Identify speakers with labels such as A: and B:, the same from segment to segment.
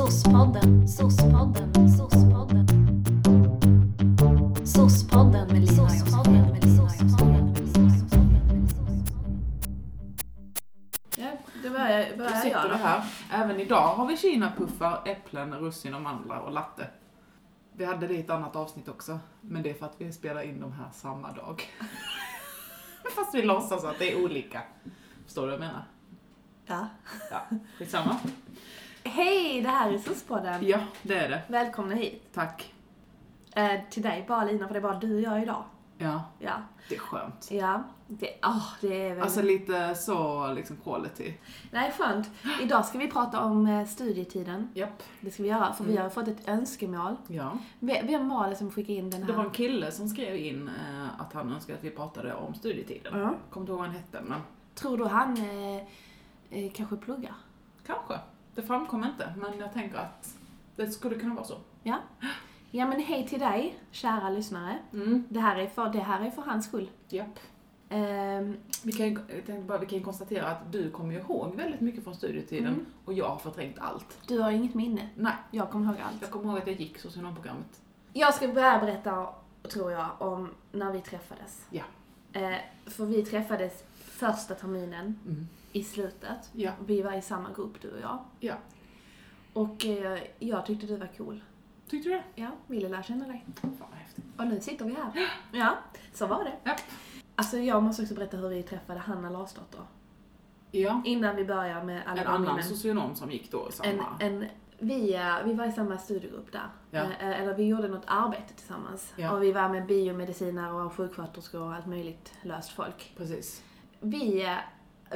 A: Sospodden, sospodden, sospodden. Sospodden med Lina Sospodden med Lina
B: Ja, det var jag. Var
C: Då
B: jag
C: sitter
B: då.
C: vi här. Även idag har vi kinapuffar, äpplen, russin och mandlar och latte. Vi hade det i ett annat avsnitt också, men det är för att vi spelar in de här samma dag. Fast vi låtsas att det är olika. Förstår du vad jag menar?
B: Ja.
C: Ja, skitsamma.
B: Hej, det här är Sospodden.
C: Ja, det är det.
B: Välkomna hit.
C: Tack.
B: Eh, till dig bara Lina, för det är bara du och jag idag.
C: Ja,
B: Ja.
C: det är skönt.
B: Ja. Det, åh, det är väl...
C: Alltså lite så liksom quality.
B: Nej, skönt. Idag ska vi prata om eh, studietiden.
C: Japp.
B: Det ska vi göra, för
C: Mm.
B: vi har fått ett önskemål.
C: Ja.
B: V- Vem var det som skickade in den här?
C: Det var en kille som skrev in eh, att han önskade att vi pratade om studietiden.
B: Ja.
C: Kommer inte ihåg vad han hette, men
B: Tror du han eh, eh, kanske pluggar?
C: Kanske. Det framkom inte, men jag tänker att det skulle kunna vara så.
B: Ja. Ja, men hej till dig, kära lyssnare.
C: Mm.
B: Det här är för, det här är för hans skull.
C: Japp.
B: Ehm,
C: Vi kan, ju- jag tänkte bara, vi kan ju konstatera att du kommer ju ihåg väldigt mycket från studietiden och jag har förträngt allt.
B: du har inget minne.
C: Mm. Nej,
B: Jag kommer ihåg allt.
C: jag kommer ihåg att jag gick socionomprogrammet.
B: Jag ska börja berätta, tror jag, om när vi träffades.
C: Ja.
B: Eh, för vi träffades första terminen
C: Mm.
B: i slutet.
C: Ja.
B: Vi var i samma grupp, du och jag.
C: Ja.
B: Och eh, jag tyckte du var cool.
C: Tyckte du det?
B: Ja, ville lära känna dig.
C: Fan vad häftigt.
B: Och nu sitter vi här. Ja, så var det.
C: Japp.
B: Alltså jag måste också berätta hur vi träffade Hanna Larsdotter.
C: Ja.
B: Innan vi börjar med alla
C: En
B: våra
C: annan
B: minnen.
C: socionom som gick då
B: en,
C: samma.
B: en, vi, eh, vi var i samma studiegrupp där.
C: Ja.
B: Eh, Eller vi gjorde något arbete tillsammans.
C: Ja.
B: Och vi var med biomediciner och sjuksköterskor och allt möjligt löst folk.
C: Precis.
B: Vi, eh,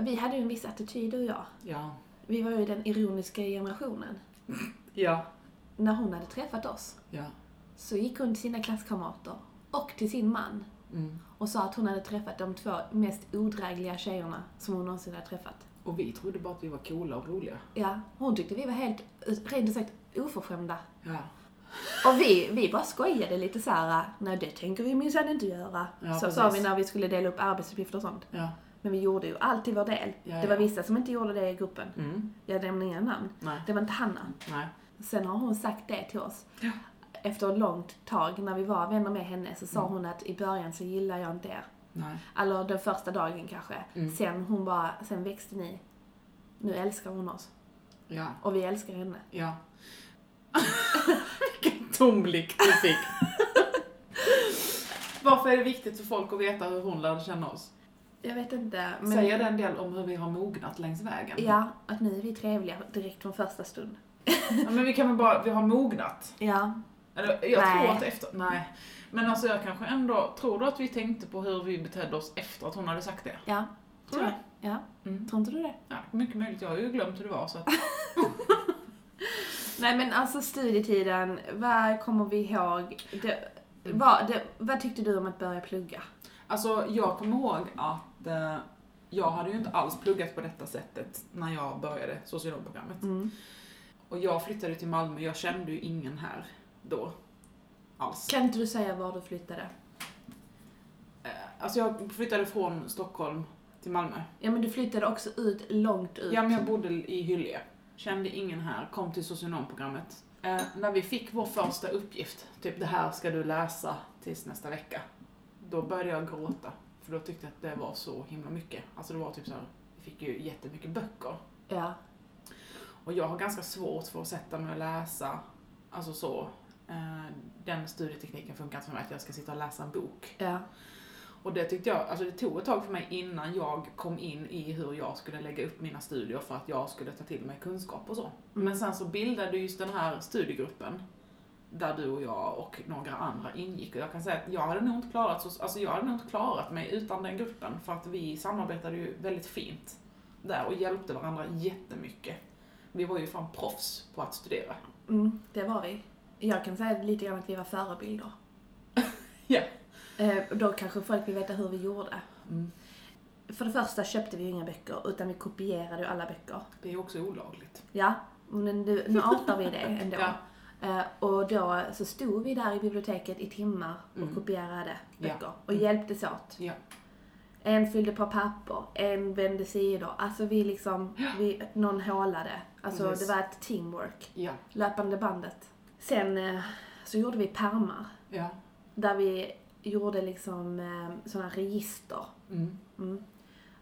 B: vi hade ju en viss attityd du och jag.
C: Ja.
B: Vi var ju den ironiska generationen.
C: Ja.
B: När hon hade träffat oss
C: Ja.
B: så gick hon till sina klasskamrater och till sin man
C: Mm.
B: och sa att hon hade träffat de två mest odrägliga tjejerna som hon någonsin hade träffat.
C: Och vi trodde bara att vi var coola och roliga.
B: Ja, hon tyckte vi var helt, rent ut sagt, oförskämda.
C: Ja.
B: Och vi, vi bara skojade lite så här. nej det tänker vi minsann inte göra.
C: Ja,
B: så
C: precis.
B: sa vi när vi skulle dela upp arbetsuppgifter och sånt.
C: Ja.
B: Men vi gjorde ju alltid vår del.
C: Ja,
B: det var
C: ja.
B: vissa som inte gjorde det i gruppen.
C: Mm.
B: Jag nämner inga namn.
C: Nej.
B: Det var inte Hanna.
C: Nej.
B: Sen har hon sagt det till oss. Efter ett långt tag, när vi var vänner med henne, så
C: Mm.
B: sa hon att i början så gillar jag inte er.
C: Nej.
B: Alltså den första dagen kanske.
C: Mm.
B: Sen hon bara, sen växte ni. Nu älskar hon oss.
C: Ja.
B: Och vi älskar henne.
C: Ja. Vilken tom blick du fick. Varför är det viktigt för folk att veta hur hon lärde känna oss?
B: Jag vet inte. Men...
C: Säger det en del om hur vi har mognat längs vägen?
B: Ja, att nu är vi trevliga direkt från första stund.
C: Ja, men vi kan väl bara, vi har mognat.
B: Ja.
C: Eller, jag
B: Nej.
C: tror att efter, nej. Men alltså jag kanske ändå, tror du att vi tänkte på hur vi betedde oss efter att hon hade sagt det?
B: Ja.
C: Tror jag.
B: Ja.
C: Mm.
B: Tror inte du det?
C: Ja, mycket möjligt, jag har ju glömt hur det var så att,
B: Nej men alltså studietiden, vad kommer vi ihåg? Det, vad, det, vad tyckte du om att börja plugga?
C: Alltså jag kommer ihåg att eh, jag hade ju inte alls pluggat på detta sättet när jag började socionomprogrammet.
B: Mm.
C: Och jag flyttade till Malmö, jag kände ju ingen här då. Alls.
B: Kan inte du säga var du flyttade?
C: Eh, Alltså jag flyttade från Stockholm till Malmö.
B: Ja men du flyttade också ut, långt ut.
C: Ja men jag bodde i Hyllie. Kände ingen här, kom till socionomprogrammet. Eh, när vi fick vår första uppgift, typ det här ska du läsa tills nästa vecka. Då började jag gråta. För då tyckte jag att det var så himla mycket. Alltså det var typ så här, vi fick ju jättemycket böcker.
B: Ja.
C: Och jag har ganska svårt för att sätta mig och läsa, alltså så. Eh, Den studietekniken funkar inte för mig, att jag ska sitta och läsa en bok.
B: ja.
C: Och det tyckte jag, alltså det tog ett tag för mig innan jag kom in i hur jag skulle lägga upp mina studier för att jag skulle ta till mig kunskap och så. Men sen så bildade just den här studiegruppen där du och jag och några andra ingick och jag kan säga att jag hade nog inte klarat, så, alltså jag hade nog inte klarat mig utan den gruppen för att vi samarbetade ju väldigt fint där och hjälpte varandra jättemycket. Vi var ju fan proffs på att studera.
B: Mm, det var vi. Jag kan säga lite grann att vi var förebilder.
C: Ja.
B: Eh, då kanske folk vill veta hur vi gjorde. För det första köpte vi ju inga böcker, utan vi kopierade ju alla böcker.
C: Det är ju också olagligt.
B: Ja, men nu, nu artar vi det ändå.
C: Ja.
B: Eh, och då så stod vi där i biblioteket i timmar och kopierade böcker och hjälptes åt.
C: Mm. Ja.
B: En fyllde på papper, en vände sidor. Alltså vi liksom, vi, någon hålade. Alltså
C: Precis.
B: det var ett teamwork.
C: Ja.
B: Löpande bandet. Sen eh, så gjorde vi pärmar.
C: Ja.
B: Där vi gjorde liksom eh, sådana register.
C: Mm.
B: Mm.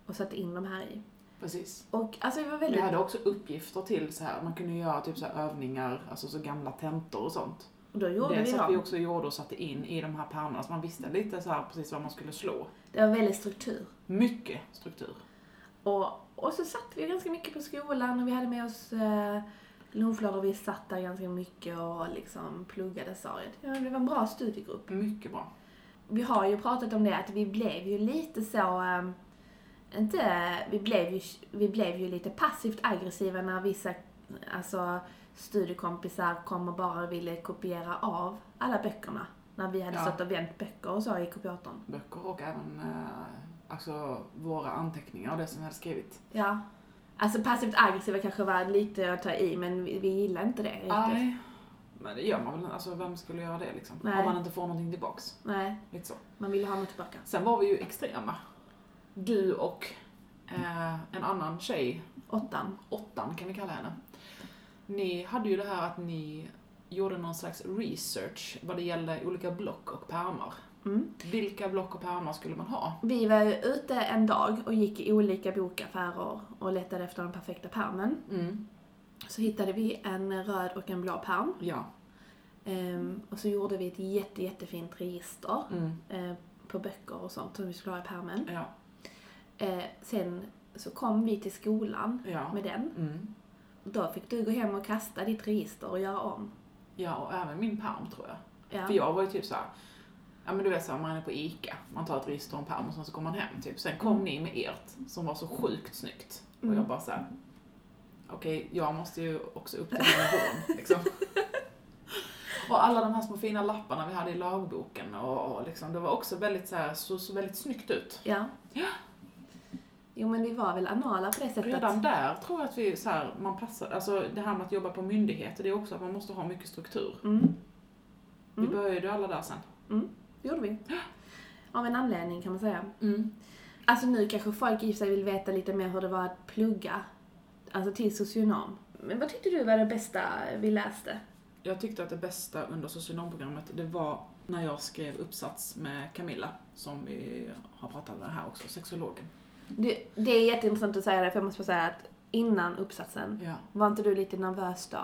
B: Och satte in de här i.
C: Precis.
B: Och alltså vi var
C: Vi
B: väldigt...
C: hade också uppgifter till så här. Man kunde göra typ så här övningar, alltså så gamla tentor och sånt.
B: Och då gjorde
C: det
B: vi
C: satt vi
B: dem.
C: också gjorde och satte in i de här pärmarna så man visste lite så här precis vad man skulle slå.
B: Det var väldigt struktur.
C: Mycket struktur.
B: Och, och så satt vi ganska mycket på skolan och vi hade med oss eh, lunchblad och vi satt där ganska mycket och liksom pluggade sa jag. Ja, det var en bra studiegrupp.
C: Mycket bra.
B: Vi har ju pratat om det att vi blev ju lite så... ehm, inte, vi, blev ju, vi blev ju lite passivt aggressiva när vissa alltså, studiekompisar kom och bara ville kopiera av alla böckerna. När vi hade
C: Ja.
B: stått och vänt böcker och så i kopiatorn.
C: Böcker och även eh, alltså, våra anteckningar och det som vi hade skrivit.
B: Ja. Alltså passivt aggressiva kanske var lite att ta i, men vi, vi gillar inte det riktigt.
C: Nej. Men det gör man väl inte. Alltså vem skulle göra det liksom?
B: Nej.
C: Om man inte får någonting tillbaks.
B: Nej,
C: Lite så.
B: man ville ha något tillbaka.
C: Sen var vi ju extrema. Du och eh, en annan tjej,
B: Åttan.
C: åttan kan vi kalla henne. Ni hade ju det här att ni gjorde någon slags research vad det gällde olika block och pärmar.
B: Mm.
C: Vilka block och pärmar skulle man ha?
B: Vi var ju ute en dag och gick i olika bokaffärer och letade efter den perfekta pärmen. Så hittade vi en röd och en blå pärm.
C: Ja.
B: Ehm, och så gjorde vi ett jätte, jättefint register
C: Mm.
B: eh, på böcker och sånt som vi skulle ha i pärmen.
C: Ja.
B: Eh, sen så kom vi till skolan
C: Ja.
B: med den.
C: Mm.
B: Då fick du gå hem och kasta ditt register och göra om.
C: ja, och även min pärm tror jag. För
B: Ja.
C: jag var ju typ såhär, ja men du vet såhär, man är på ICA, man tar ett register och en pärm och sen så går man hem typ. Sen kom ni med ert som var så sjukt snyggt. Och
B: Mm.
C: jag bara såhär, okej jag måste ju också upp till den nivån liksom. Och alla de här små fina lapparna vi hade i lagboken och, och liksom, det var också väldigt såhär, så, så väldigt snyggt ut.
B: ja. Jo men vi var väl anala på det sättet.
C: Redan där tror jag att vi så här, man passar, alltså det här med att jobba på myndigheter, det är också att man måste ha mycket struktur.
B: Mm,
C: Vi
B: Mm.
C: började ju alla där sen.
B: det gjorde vi. Av en anledning kan man säga. Alltså nu kanske folk i och för sig vill veta lite mer hur det var att plugga, alltså till socionom. Men vad tyckte du var det bästa vi läste?
C: Jag tyckte att det bästa under socionomprogrammet det var när jag skrev uppsats med Camilla, som vi har pratat med här också, sexologen.
B: Det, det är jätteintressant att säga det, för jag måste bara säga att innan uppsatsen,
C: Ja.
B: var inte du lite nervös då?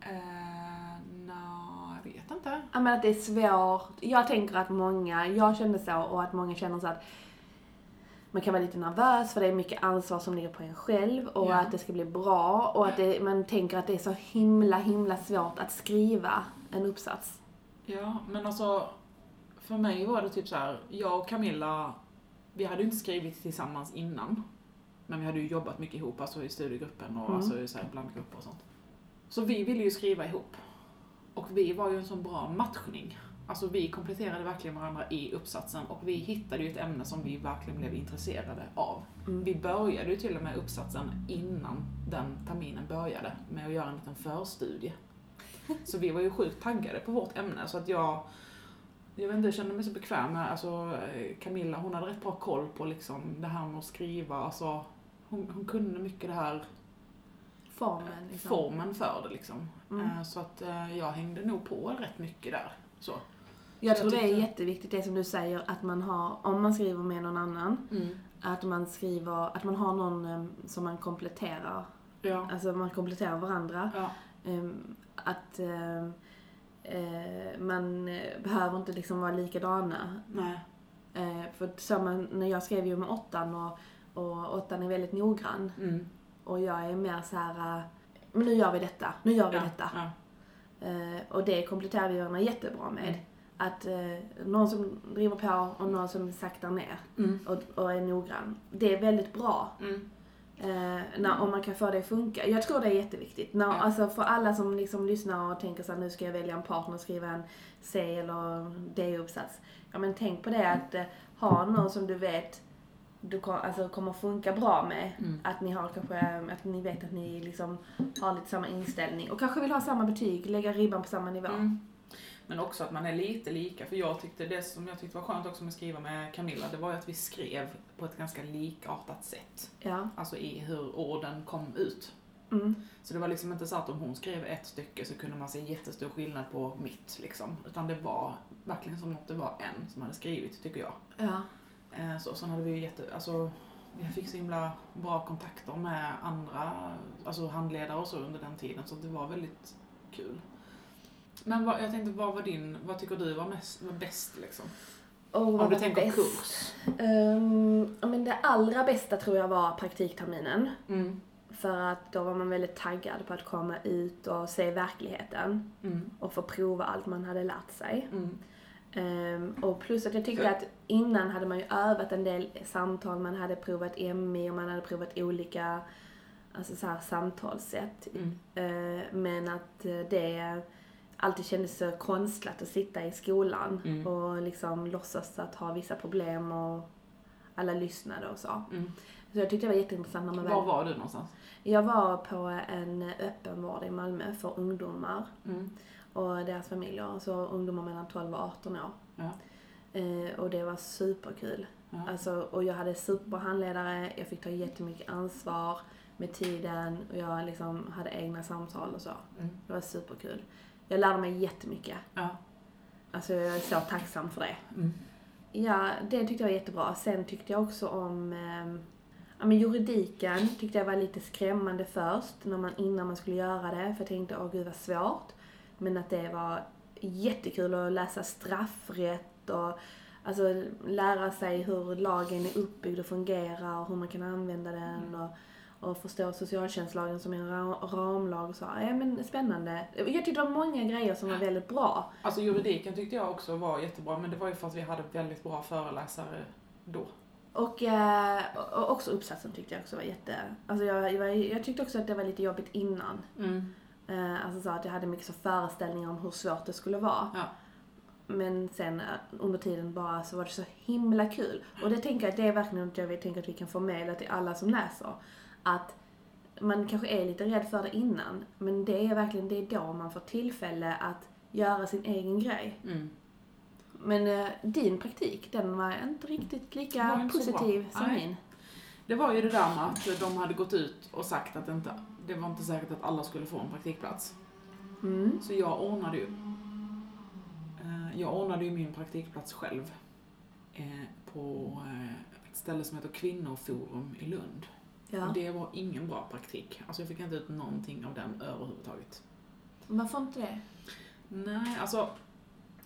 C: Eh, Nja, jag vet inte.
B: Ja men att det är svårt. Jag tänker att många, jag kände så och att många känner så att man kan vara lite nervös för det är mycket ansvar som ligger på en själv och
C: Ja.
B: att det ska bli bra och att det, man tänker att det är så himla himla svårt att skriva en uppsats.
C: Ja, men alltså för mig var det typ så här, jag och Camilla, vi hade ju inte skrivit tillsammans innan. Men vi hade ju jobbat mycket ihop, alltså i studiegruppen och
B: Mm.
C: alltså i så här blandgrupper och sånt. Så vi ville ju skriva ihop. Och vi var ju en sån bra matchning. Alltså vi kompletterade verkligen varandra i uppsatsen och vi hittade ju ett ämne som vi verkligen blev intresserade av.
B: Mm.
C: Vi började ju till och med uppsatsen innan den terminen började med att göra en liten förstudie. Så vi var ju sjukt taggade på vårt ämne så att jag jag vet inte, jag kände mig så bekväm med, alltså eh, Camilla hon hade rätt bra koll på liksom det här med att skriva, alltså hon, hon kunde mycket det här
B: Formen liksom.
C: formen för det liksom.
B: Mm.
C: Eh, Så att eh, jag hängde nog på rätt mycket där. Så.
B: Jag
C: Så
B: tror
C: jag
B: det är
C: tyckte-
B: jätteviktigt det som du säger att man har, om man skriver med någon annan, att man skriver, att man har någon em, som man kompletterar,
C: Ja.
B: alltså man kompletterar varandra.
C: Ja.
B: Em, att em, eh, man eh, behöver inte liksom vara likadana.
C: Nej.
B: Eh, för att samma, när jag skrev ju med åttan och, och åttan är väldigt noggrann
C: Mm.
B: och jag är mer så här. eh, Men nu gör vi detta, nu gör vi
C: Ja.
B: detta.
C: Ja.
B: Eh, och det kompletterar vi varandra jättebra med.
C: Mm.
B: Att eh, någon som driver på och någon som saktar ner
C: Mm.
B: och, och är noggrann. Det är väldigt bra
C: Mm.
B: eh, när, om man kan få det att funka. Jag tror det är jätteviktigt. När,
C: Ja.
B: alltså för alla som liksom lyssnar och tänker så här, nu ska jag välja en partner och skriva en C eller D-uppsats. Ja men tänk på det att eh, ha någon som du vet du kom, alltså, kommer funka bra med.
C: Mm.
B: Att ni har kanske, eh, att ni vet att ni liksom har lite samma inställning och kanske vill ha samma betyg, lägga ribban på samma nivå.
C: Mm. Men också att man är lite lika, för jag tyckte det som jag tyckte var skönt också med att skriva med Camilla, det var ju att vi skrev på ett ganska likartat sätt.
B: Ja.
C: Alltså i hur orden kom ut.
B: Mm.
C: Så det var liksom inte så att om hon skrev ett stycke så kunde man se jättestor skillnad på mitt liksom. Utan det var verkligen som att det var en som hade skrivit, tycker jag.
B: Ja.
C: Eh, Så, sen hade vi ju jätte, alltså, vi fick så himla bra kontakter med andra alltså handledare och så under den tiden så det var väldigt kul. Men vad, jag tänkte, vad var din, vad tycker du var, mest, var bäst liksom?
B: Och vad
C: Om du
B: var
C: tänker
B: bäst?
C: kurs.
B: Ehm, ja, men det allra bästa tror jag var praktikterminen.
C: Mm.
B: För att då var man väldigt taggad på att komma ut och se verkligheten
C: Mm.
B: och få prova allt man hade lärt sig.
C: Mm.
B: Ehm, och plus att jag tyckte att innan hade man ju övat en del samtal, man hade provat MI och man hade provat olika alltså så här, samtalssätt.
C: Mm.
B: Ehm, men att eh, det alltid kändes så konstlat att sitta i skolan
C: Mm.
B: och liksom låtsas att ha vissa problem och alla lyssnade och så.
C: Mm.
B: Så jag tyckte det var jätteintressant när man väl
C: Var var du någonstans?
B: jag var på en öppenvård i Malmö för ungdomar
C: Mm.
B: och deras familjer, alltså ungdomar mellan 12 och 18 år.
C: Ja.
B: Eh, och det var superkul.
C: Ja.
B: Alltså, och jag hade superbra handledare, jag fick ta jättemycket ansvar med tiden och jag liksom hade egna samtal och så.
C: Mm.
B: Det var superkul. Jag lärde mig jättemycket.
C: Ja.
B: Alltså jag är så tacksam för det.
C: Mm.
B: Ja, det tyckte jag var jättebra. Sen tyckte jag också om ehm, ja, men juridiken tyckte jag var lite skrämmande först när man, innan man skulle göra det. För jag tänkte, åh gud vad svårt. Men att det var jättekul att läsa straffrätt och alltså, lära sig hur lagen är uppbyggd och fungerar och hur man kan använda den. Och, och förstå socialtjänstlagen som en ra- ramlag och så. Ja men spännande. Jag tyckte det var många grejer som var väldigt bra.
C: Alltså juridiken tyckte jag också var jättebra men det var ju för att vi hade väldigt bra föreläsare då.
B: Och, eh, och också uppsatsen tyckte jag också var jätte... Alltså jag, jag, var- jag tyckte också att det var lite jobbigt innan. Eh, alltså så att jag hade mycket så föreställningar om hur svårt det skulle vara.
C: Ja.
B: Men sen eh, under tiden bara så var det så himla kul. Och det tänker jag att det är verkligen något jag vill tänka att vi kan förmedla till alla som läser. Att man kanske är lite rädd för det innan. Men det är verkligen det är då man får tillfälle att göra sin egen grej.
C: Mm.
B: Men eh, din praktik, den var inte riktigt
C: Var
B: lika
C: inte så bra.
B: positiv som
C: Nej.
B: min.
C: Det var ju det där med att de hade gått ut och sagt att det inte, det var inte säkert att alla skulle få en praktikplats.
B: Mm.
C: Så jag ordnade ju, eh, jag ordnade ju min praktikplats själv eh, på eh, ett ställe som heter Kvinnoforum i Lund.
B: Ja.
C: Och det var ingen bra praktik. Alltså jag fick inte ut någonting av den överhuvudtaget.
B: Varför inte det?
C: Nej, alltså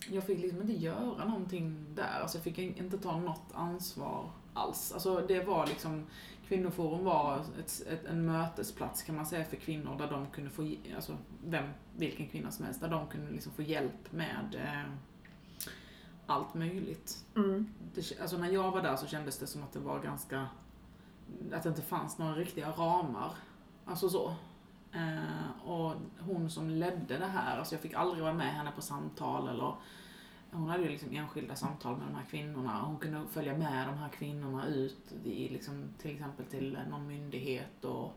C: jag fick liksom inte göra någonting där. Alltså jag fick in- inte ta något ansvar alls. Alltså det var liksom, Kvinnoforum var ett, ett, en mötesplats kan man säga för kvinnor där de kunde få, ge- alltså vem, vilken kvinna som helst, där de kunde liksom få hjälp med eh, allt möjligt.
B: Mm.
C: Det, alltså när jag var där så kändes det som att det var ganska, att det inte fanns några riktiga ramar. Alltså så. Eh, och hon som ledde det här, alltså jag fick aldrig vara med henne på samtal eller hon hade ju liksom enskilda samtal med de här kvinnorna och hon kunde följa med de här kvinnorna ut i liksom, till exempel till någon myndighet och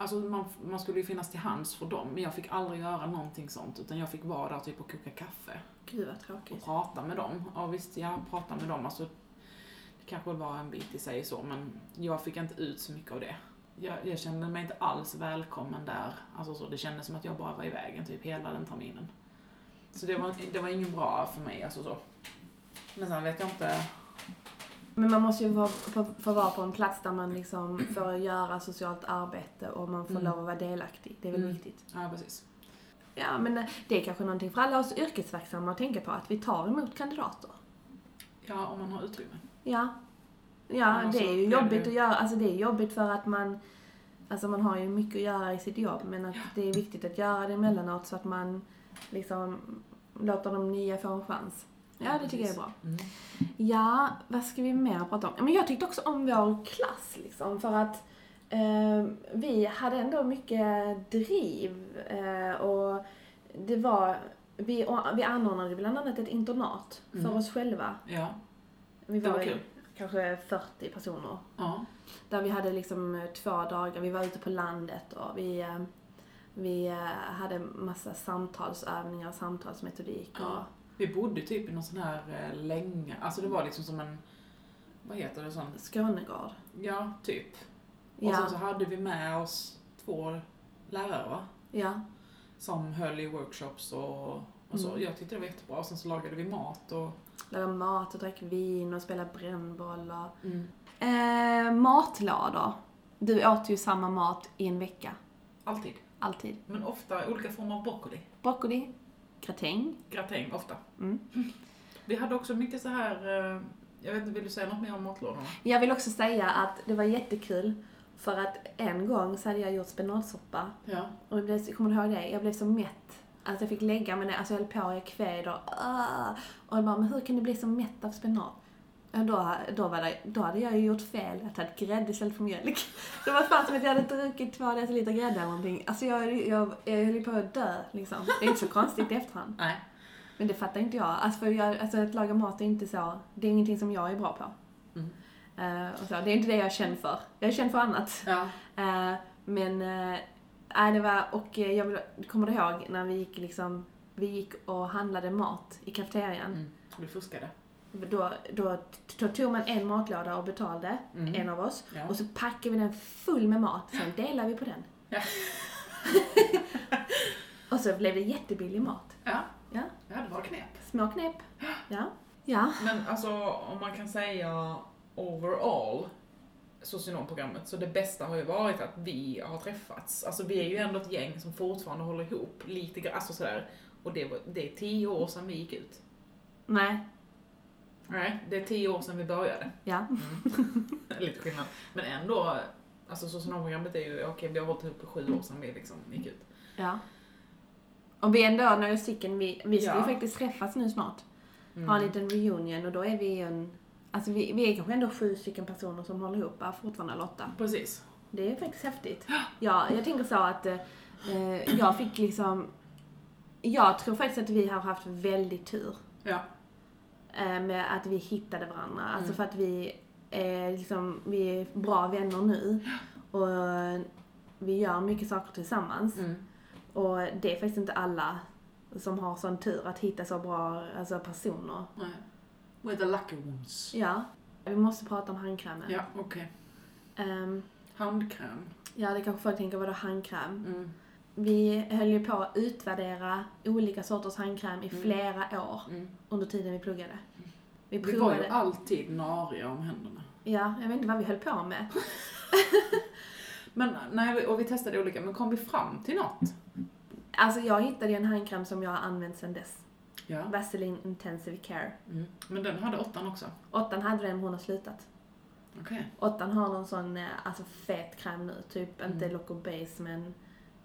C: Alltså man, man skulle ju finnas till hands för dem men jag fick aldrig göra någonting sånt utan jag fick vara där typ och koka kaffe
B: Gud vad
C: och
B: tråkigt.
C: prata med dem. Ja visst, jag pratar med dem. Alltså, det kanske var en bit i sig så, men jag fick inte ut så mycket av det. Jag, jag kände mig inte alls välkommen där. Alltså så, det kändes som att jag bara var i vägen typ hela den terminen. Så det var, det var ingen bra för mig. Alltså så. Men sen vet jag inte.
B: Men man måste ju vara, få, få vara på en plats där man liksom får göra socialt arbete och man får
C: Mm.
B: lov att vara delaktig. Det är väl
C: Mm.
B: viktigt.
C: Ja, precis.
B: Ja, men eh, det är kanske någonting för alla oss yrkesverksamma att tänka på, att vi tar emot kandidater.
C: Ja, om man har utrymme.
B: Ja.
C: Ja,
B: Ja,
C: men så
B: det är ju
C: är det
B: jobbigt
C: ju.
B: att göra, alltså det är jobbigt för att man, alltså man har ju mycket att göra i sitt jobb, men att det är viktigt att göra det emellanåt så att man liksom låter de nya få en chans. Ja, det tycker jag är
C: precis.
B: bra.
C: Mm.
B: Ja, vad ska vi mer prata om? Ja, Men jag tyckte också om vår klass liksom för att eh, vi hade ändå mycket driv eh, och det var, vi, och vi anordnade bland annat ett internat
C: Mm.
B: för oss själva.
C: Ja,
B: Vi
C: det var
B: ju
C: kul.
B: kanske 40 personer.
C: Ja.
B: Där vi hade liksom eh, två dagar, vi var ute på landet och vi eh, Vi eh, hade massa samtalsövningar och samtalsmetodik och
C: Ja. Vi bodde typ i någon sån här eh, länge, alltså det var liksom som en, vad heter det, sån,
B: Skånegård.
C: ja, typ. Och
B: Ja,
C: sen så hade vi med oss två lärare va?
B: ja,
C: Som höll i workshops och, och så.
B: Mm.
C: Jag tyckte det var jättebra. Och sen så lagade vi mat och...
B: lagade mat och drack vin och spelade brännboll och... Eh, matlådor. Du åt ju samma mat i en vecka.
C: Alltid.
B: Alltid.
C: Men ofta olika former av broccoli.
B: Broccoli, gratäng.
C: Gratäng, ofta.
B: Mm.
C: Vi hade också mycket så här... eh, Jag vet inte, vill du säga något mer om matlådorna?
B: Jag vill också säga att det var jättekul för att en gång så hade jag gjort spenatsoppa
C: Ja.
B: och jag, blev, jag kommer ihåg det, jag blev så mätt. Alltså jag fick lägga mig ner, alltså jag höll på, jag kväd och ah. Och jag bara, men hur kan du bli så mätt av spenat? Ja, Då, då, var det, då hade jag ju gjort fel, att jag hade grädde istället för mjölk. Det var fan som att jag hade druckit två deciliter grädde eller någonting. Alltså jag, jag, jag höll ju på att dö liksom. Det är inte så konstigt i efterhand.
C: Nej.
B: Men det fattar inte jag. Alltså, för jag, alltså att laga mat är inte så, det är ingenting som jag är bra på.
C: Mm.
B: Eh, och så. Det är inte det jag känner för. Jag känner för annat.
C: Ja.
B: Eh, men, eh, nej, det var, och eh, jag vill- kommer du ihåg när vi gick liksom, vi gick och handlade mat i kafeterian.
C: Mm. Vi fuskade.
B: Då, då, då tog man en matlåda och betalade,
C: Mm.
B: en av oss.
C: Ja.
B: Och så packade vi den full med mat, sen delade vi på den.
C: Ja.
B: och så blev det jättebillig mat.
C: Ja.
B: Ja.
C: Jag hade bara knep.
B: Små knep. Ja. Ja.
C: Men alltså om man kan säga overall socionomprogrammet så det bästa har ju varit att vi har träffats. Alltså vi är ju ändå ett gäng som fortfarande håller ihop lite grann, alltså sådär. Och det, var, det är tio år sedan vi gick ut.
B: Nej.
C: Nej, det är tio år sedan vi började.
B: Ja.
C: lite skillnad. Men ändå, alltså socionomprogrammet är ju, okej vi har hållit ihop i sju år sedan vi liksom gick ut.
B: Ja. Och vi är ändå några stycken, vi, vi ska ju
C: Ja.
B: faktiskt träffas nu snart. Ha en liten reunion och då är vi en... Alltså vi, vi är kanske ändå sju stycken personer som håller ihop, bara fortfarande eller åtta.
C: Precis.
B: Det är faktiskt häftigt. Ja, jag tänker så att eh, eh, jag fick liksom... Jag tror faktiskt att vi har haft väldigt tur
C: Ja.
B: eh, med att vi hittade varandra. Alltså
C: Mm.
B: för att vi är, liksom, vi är bra vänner nu. Och vi gör mycket saker tillsammans.
C: Mm.
B: Och det är faktiskt inte alla som har sån tur att hitta så bra alltså, personer.
C: Nej. We're the lucky ones.
B: Ja. Vi måste prata om handkrämen.
C: Ja, okej.
B: Ehm,
C: Handkräm.
B: ja, det kanske folk tänker, vadå handkräm?
C: Mm.
B: Vi höll ju på att utvärdera olika sorters handkräm i
C: Mm.
B: flera år
C: Mm.
B: under tiden vi pluggade. Vi
C: Vi var ju
B: provade.
C: alltid nariga om händerna.
B: Ja, jag vet inte vad vi höll på med.
C: Men, nej, vi- och vi testade olika, men kom vi fram till något?
B: Alltså jag hittade ju en handkräm som jag har använt sedan dess.
C: Ja.
B: Vaseline Intensive Care.
C: Mm. Men den hade åttan också.
B: Åttan hade den, men hon har slutat.
C: Okej.
B: Åttan har någon sån eh, alltså, fet kräm nu, typ
C: Mm.
B: inte Loco Base men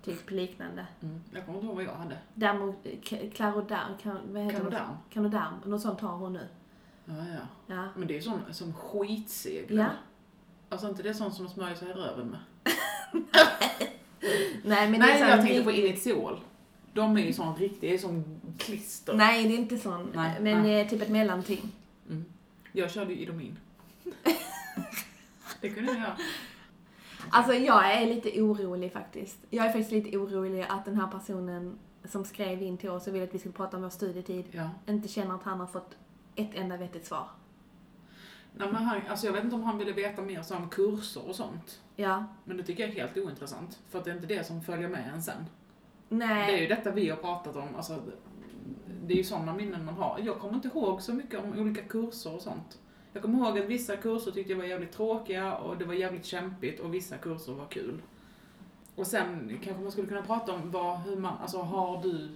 B: typ liknande.
C: Mm. Jag kommer inte ihåg vad jag hade.
B: Däremot eh, K- Claroderm, kan- vad heter det?
C: Kanodan.
B: Claroderm, något sånt har hon nu.
C: Ja, ja.
B: Ja.
C: Men det är ju sån som skitseglar.
B: ja.
C: Alltså inte det är sånt som man smörjer sig i röven med.
B: Nej men
C: nej,
B: det är
C: jag
B: sån
C: tänkte på
B: rikt-
C: Initiol. De är ju sån riktig, det är som klister.
B: Nej det är inte sån,
C: Nej,
B: men eh, typ ett mellanting.
C: Mm. Jag körde ju Idomin. det kunde jag.
B: Alltså jag är lite orolig faktiskt. Jag är faktiskt lite orolig att den här personen som skrev in till oss och ville att vi skulle prata om vår studietid
C: Ja.
B: inte känner att han har fått ett enda vettigt svar.
C: Nej, men han, alltså jag vet inte om han ville veta mer så om kurser och sånt.
B: Ja.
C: Men det tycker jag är helt ointressant. För att det är inte det som följer med en sen.
B: Nej.
C: Det är ju detta vi har pratat om. Alltså, det är ju sådana minnen man har. Jag kommer inte ihåg så mycket om olika kurser och sånt. Jag kommer ihåg att vissa kurser tyckte jag var jävligt tråkiga och det var jävligt kämpigt och vissa kurser var kul. Och sen kanske man skulle kunna prata om vad, hur man, alltså har du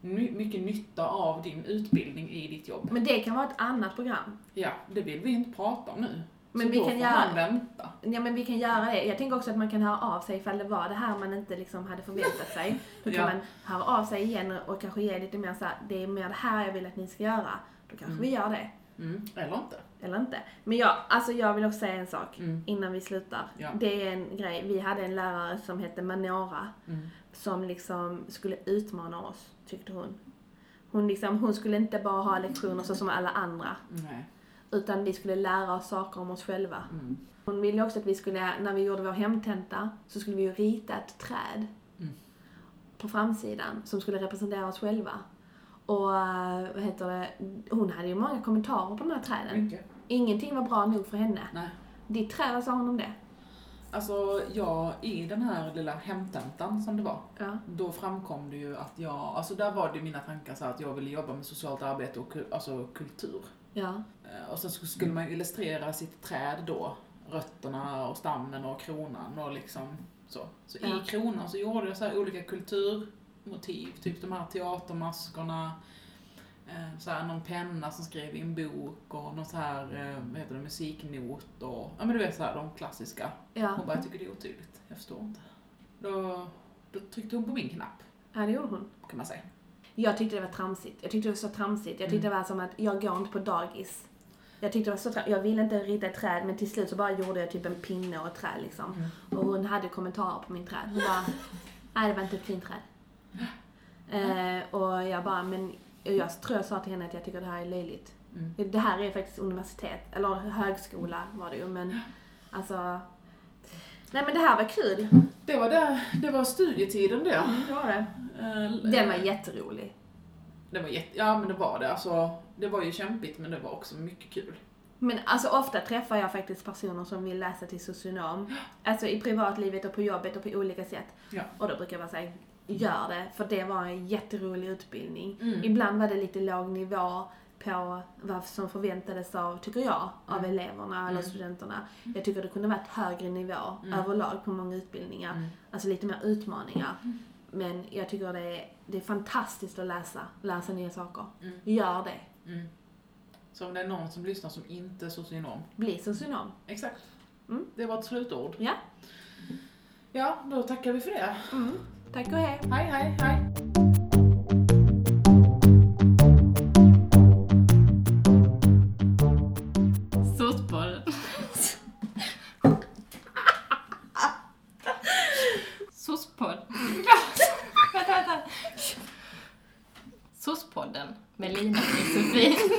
C: ny, mycket nytta av din utbildning i ditt jobb?
B: Men det kan vara ett annat program.
C: Ja, det vill vi inte prata om nu.
B: Men
C: så
B: vi
C: då
B: kan
C: får
B: göra-
C: man vänta.
B: Ja men vi kan göra det. Jag tänker också att man kan höra av sig ifall det var det här man inte liksom hade förväntat sig. Då kan
C: Ja.
B: man höra av sig igen och kanske ge lite mer såhär, det är mer det här jag vill att ni ska göra. Då kanske vi gör det.
C: Mm. Eller inte.
B: Eller inte. Men jag, alltså jag vill också säga en sak
C: Mm.
B: innan vi slutar.
C: Ja.
B: Det är en grej, vi hade en lärare som hette Manora
C: Mm.
B: som liksom skulle utmana oss, tyckte hon. Hon, liksom, hon skulle inte bara ha lektioner så som alla andra,
C: Nej.
B: utan vi skulle lära oss saker om oss själva.
C: Mm.
B: Hon ville också att vi skulle, när vi gjorde vår hemtenta, så skulle vi ju rita ett träd.
C: Mm.
B: på framsidan som skulle representera oss själva. Och eh, vad heter det, hon hade ju många kommentarer på den här träden.
C: Mycket.
B: Ingenting var bra nog för henne.
C: Nej.
B: Ditt träd, vad sa hon om det?
C: Alltså, jag, i den här lilla hemtentan som det var,
B: Ja.
C: då framkom det ju att jag, alltså där var det mina tankar så här att jag ville jobba med socialt arbete och ku- alltså kultur.
B: Ja.
C: Eh, Och sen sk- skulle
B: Mm.
C: man ju illustrera sitt träd då, rötterna och stammen och kronan och liksom så. Så
B: Ja.
C: i kronan så gjorde jag så här olika kulturmotiv, typ de här teatermaskorna, eh, så här någon penna som skrev i en bok och någon så här, eh, vad heter det, musiknot och, ja men du vet så här de klassiska.
B: Ja.
C: Hon bara, jag tycker det är otydligt, jag förstår inte. Då, då tryckte hon på min knapp,
B: ja, det gjorde hon.
C: kan man säga.
B: Jag tyckte det var tramsigt. Jag tyckte det var så tramsigt. Jag tyckte det var som att jag går inte på dagis. Jag tyckte det var så tramsigt. Jag ville inte rita ett träd men till slut så bara gjorde jag typ en pinne och ett träd liksom. Och hon hade kommentarer på min träd. Hon bara, nej det var inte ett fint träd. Eh, och jag bara, men jag tror jag sa till henne att jag tycker det här är löjligt.
C: Mm.
B: Det här är faktiskt universitet, eller högskola var det ju men alltså. Nej men det här var kul.
C: Det var, det, det var studietiden det.
B: Det var det.
C: Eh,
B: Den var jätterolig.
C: Det var jätte, ja men det var det. Alltså, det var ju kämpigt men det var också mycket kul.
B: Men alltså ofta träffar jag faktiskt personer som vill läsa till socionom. Alltså i privatlivet och på jobbet och på olika sätt.
C: Ja.
B: Och då brukar jag bara säga, gör det. För det var en jätterolig utbildning.
C: Mm.
B: Ibland var det lite låg nivå på vad som förväntades av, tycker jag, av
C: Mm.
B: eleverna eller
C: Mm.
B: studenterna. Jag tycker det kunde varit högre nivå överlag på många utbildningar.
C: Mm.
B: Alltså lite mer utmaningar. Men jag tycker det är, det är fantastiskt att läsa, läsa nya saker.
C: Mm.
B: Gör det.
C: Mm. Så om det är någon som lyssnar som inte är socionom.
B: Bli socionom.
C: Exakt.
B: Mm.
C: Det var ett slutord.
B: Ja.
C: Ja, då tackar vi för det.
B: Mm. Tack och hej.
C: Hej, hej, hej.
D: Fotboll. Sospodd. vänta, vänta. Sospodden med Lina och Josefin.